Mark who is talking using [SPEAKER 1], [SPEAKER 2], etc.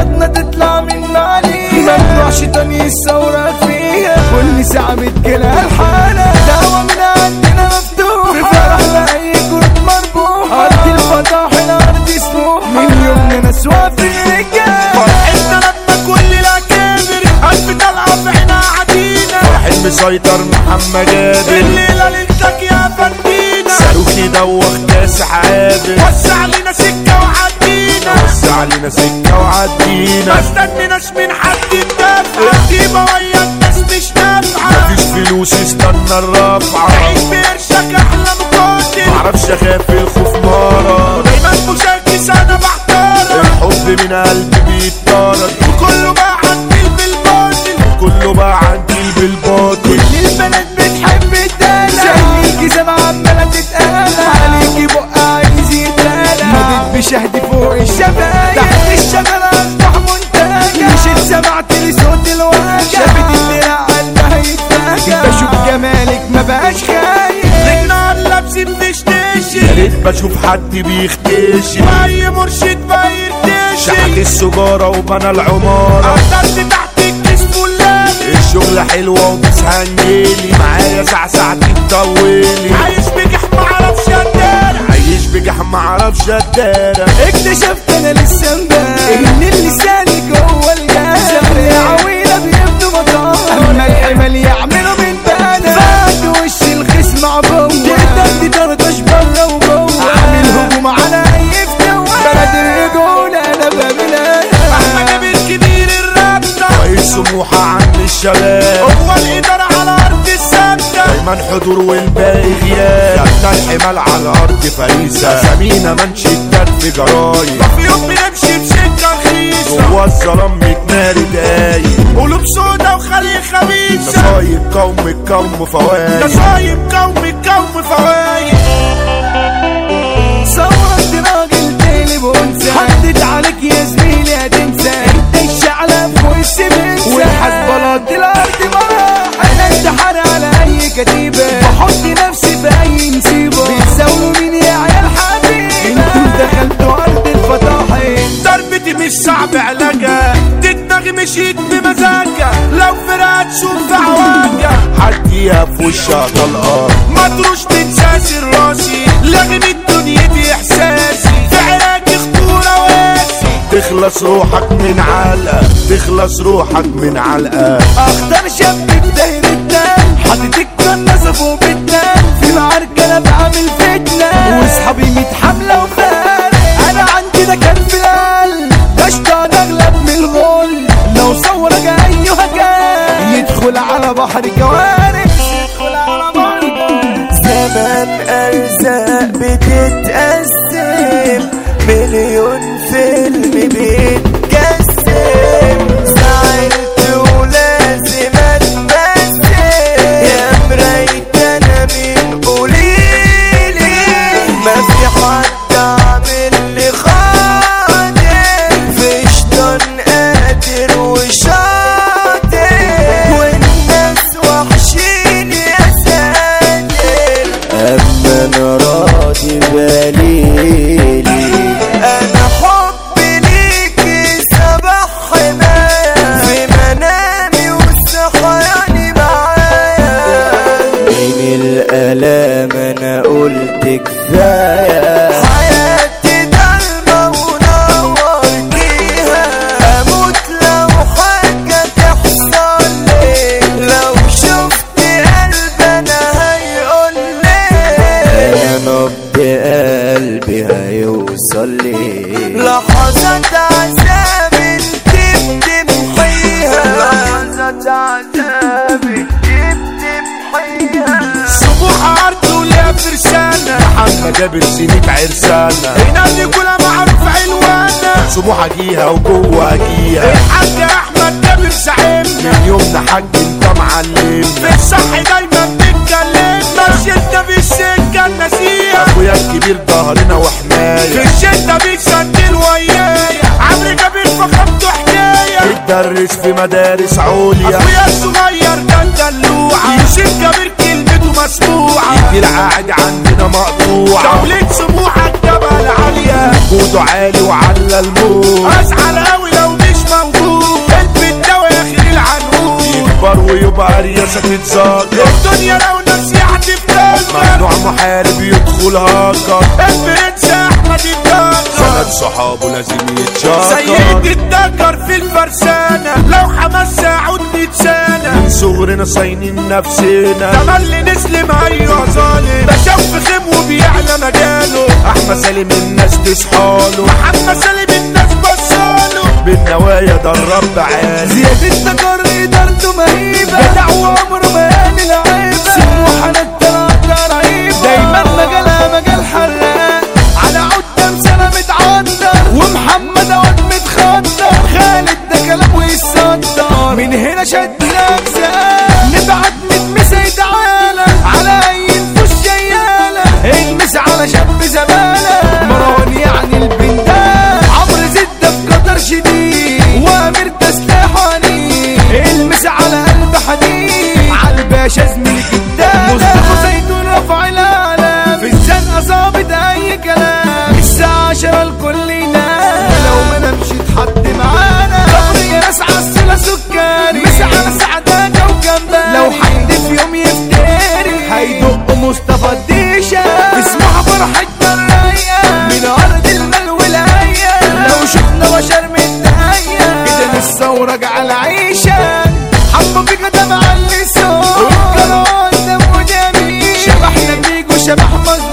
[SPEAKER 1] هتطلع من عليها ما تروحش تاني الثورة فيها كل ساعة بتجيلها الحالة دعوة من عندنا مفتوحة في فرح لأي كنت مربوحة أرض الفضاح الأرض سموحة من يومنا ناس واقفين رجالة
[SPEAKER 2] مسيطر محمد قادر
[SPEAKER 3] الليلة ليلتك يا فندينا
[SPEAKER 2] صاروخ يدوخ كاس عادل
[SPEAKER 3] وسع لنا سكة وعدينا
[SPEAKER 2] وسع لنا سكة
[SPEAKER 3] ما
[SPEAKER 2] وعدينا
[SPEAKER 3] استنيناش من حد يدافع القيمة ويا الناس مش نافعة
[SPEAKER 2] مفيش فلوس استنى الرفعة
[SPEAKER 3] عيش بقرشك أحلى مقاتل
[SPEAKER 2] معرفش اخاف الخوف مرض
[SPEAKER 3] دايما مشاكس أنا بحتارك
[SPEAKER 2] الحب من قلبي بيتطرد
[SPEAKER 3] وكله بقى عندي بالباطل
[SPEAKER 2] كله بقى عندي بالباطل
[SPEAKER 1] البنات بتحب الدلع سهليكي سبعة عمالة تتقلع عليكي بق عايز يتقلع ما تدبش اهدي فوق الشبايا تحت الشجرة افتح منتجع مش سمعت لصوت الوجع شافت الدراع قلبها يتفجع بشوف جمالك ما بقاش خايف
[SPEAKER 3] رجلنا لابسين دشداشي
[SPEAKER 2] يا ريت بشوف حد بيختشي
[SPEAKER 3] وأي مرشد ما
[SPEAKER 2] شحت
[SPEAKER 3] يرداشي
[SPEAKER 2] السجارة وبنى العمارة
[SPEAKER 3] قدرت تحت الجسم واللابس
[SPEAKER 2] الشغل حلوة ومش هنجيلي معايا ساعة ساعتين طويلي
[SPEAKER 3] عايش بجح معرفش أندارك
[SPEAKER 2] عايش بجح معرفش ادارك
[SPEAKER 1] اكتشفت انا لسه امبارح ان اللسان جوه الجهل سمر عويلة بيبدو مطار اما الحمل يعملوا من بنا بعد وش الخصم عبوة تقدر تطرطش بره وجوه عامل هجوم على اي فتوة بلد الرجولة انا بملاها
[SPEAKER 3] أحمد بالكبير الرابطة
[SPEAKER 2] رئيس سموحة عم الشباب
[SPEAKER 3] هو الإدارة على أرض السمنة
[SPEAKER 2] دايما حضور والباقي غياب خدنا الحمال على الأرض فريسة سمينا منشدات في جرايد
[SPEAKER 3] في يوم بنمشي بشدة رخيصة
[SPEAKER 2] جوا الظلام متناري دايق
[SPEAKER 3] قلوب سودا وخلي خبيثة
[SPEAKER 2] نصايب قوم القوم فوايد
[SPEAKER 3] نصايب قوم القوم فوايد
[SPEAKER 1] صورت راجل تاني بأنثى عدت عليك يا زميلي هتنسى انت الشعلة في وش بنسى والحسبلات الأرض مراحل أنا انتحار على أي كتيبة بحط نفسي في أي نسيبة بيتساووا مين يا عيال حبيبي انتوا دخلتوا أرض الفضاحل
[SPEAKER 3] ضربتي مش صعب علاجها دي دماغي مشيت بمزاجها لو فرقت شوف في عواجها
[SPEAKER 2] حد يقف وش طلقة
[SPEAKER 3] ما تروش من ساسر راسي لغمت دنيتي احساسي في عراقي خطورة واسي
[SPEAKER 2] تخلص روحك من علقة تخلص روحك من علقة
[SPEAKER 1] أخضر شاب بداير الدم حاطط الكنة فوق بالدم في معركة أنا بعمل فتنة وأصحابي ميت حملة وفال أنا عندي ده كان في القلب بشطر أغلب من الغل لو صورك أيها كان يدخل على بحر جوارح يدخل على بحر جوارح
[SPEAKER 4] زمان أرزاق بتتقسم مليون فيلم بيتجسم زعلت ولازم أتمسك يا مرايت أنا مين قوليلي ما في حد عامل لي خاطر في شيطان قادر وشاطر والناس وحشيني يا ساتر أما أنا راضي بليلي أنا حبي ليكي سبح حماية في منامي وصحياني معايا من الألام أنا قلت كفاية حياتي ضلمة ونور فيها أموت لو حاجة تحصل لي لو شفت قلب أنا هيقول لي أنا نبض قلبي هيوصل لي لحظات عذاب انت بتمحيها لحظات عذاب انت بتمحيها
[SPEAKER 3] صبوح أرض وليها فرسانة
[SPEAKER 2] محمد جابر سنيك عرسانة نعم،
[SPEAKER 3] هنا اللي كلها معروف عنوانة
[SPEAKER 2] سموحة جيها وجوه جيها
[SPEAKER 3] الحاج أحمد جابر زعيمنا
[SPEAKER 2] من يومنا حاج انت معلمنا
[SPEAKER 3] في الصح دايما بنتكلم مشيتنا في السكة النسية
[SPEAKER 2] اخويا الكبير ضهرنا
[SPEAKER 3] في
[SPEAKER 2] وحماية
[SPEAKER 3] الشدة بيتسجل ويايا عمرو جابر فخدته حكاية
[SPEAKER 2] بتدرس في مدارس عليا
[SPEAKER 3] أخويا الصغير كان دلوعة يوسف جابر كلمته مسموعة
[SPEAKER 2] كتير قاعد عندنا مقطوعة
[SPEAKER 3] دولة سموحة الجبل عالية
[SPEAKER 2] جوده عالي وعلى الموت
[SPEAKER 3] أزعل أوي لو مش موجود
[SPEAKER 2] تكبر ويبقى رياسة تتذكر
[SPEAKER 3] الدنيا لو يعني نصيحة تفتكر
[SPEAKER 2] ممنوع محارب يدخل هاكر
[SPEAKER 3] البيت احمد الدكر
[SPEAKER 2] ثلاث صحابه لازم
[SPEAKER 3] سيد
[SPEAKER 2] يتشاكر
[SPEAKER 3] الدكر في الفرسانة لو حماس ساعود لسانة
[SPEAKER 2] من صغرنا صاينين نفسنا
[SPEAKER 3] تمل نسلم ايوه ظالم بشوف خيم وبيعلى مجاله
[SPEAKER 2] احمد سالم الناس تصحاله
[SPEAKER 3] محمد سالم الناس بصاله
[SPEAKER 2] بالنوايا ده الرب عالي
[SPEAKER 1] زياد التجار ادارته مهيبه جدع وعمره ما قال العيبه سموحه نتلاقى رهيبه دايما مجالها مجال حراق على قدام سنه متعدر ومحمد عواد متخدر خالد ده كلام ويصدر من هنا شد الاجزاء نبعت متمسي تعالى على اي نفوس شياله المس على شاب زباله مروان يعني البندال عمرو زد في قطر شديد وامير تسليحاني المس على قلب حنين على الباشا زميل قدام مصطفى زيتون رفع العالم في الزنقه ظابط اي كلام الساعه 10 الكل ينام لو ما نمشي اتحط معانا ظهري يا ناس عالسلا سكري مس على سعدك وجنبك لو حد في يوم يفتري هيدق مصطفى الديشه اسمها فرحه الرايقه من ارض المال والهيئه لو شفنا بشر متهيئه كده لسه وراجع العيشه حبه فيك ده معلي سوق الكرة قدام ودمي شبحنا بيك وشبح مصر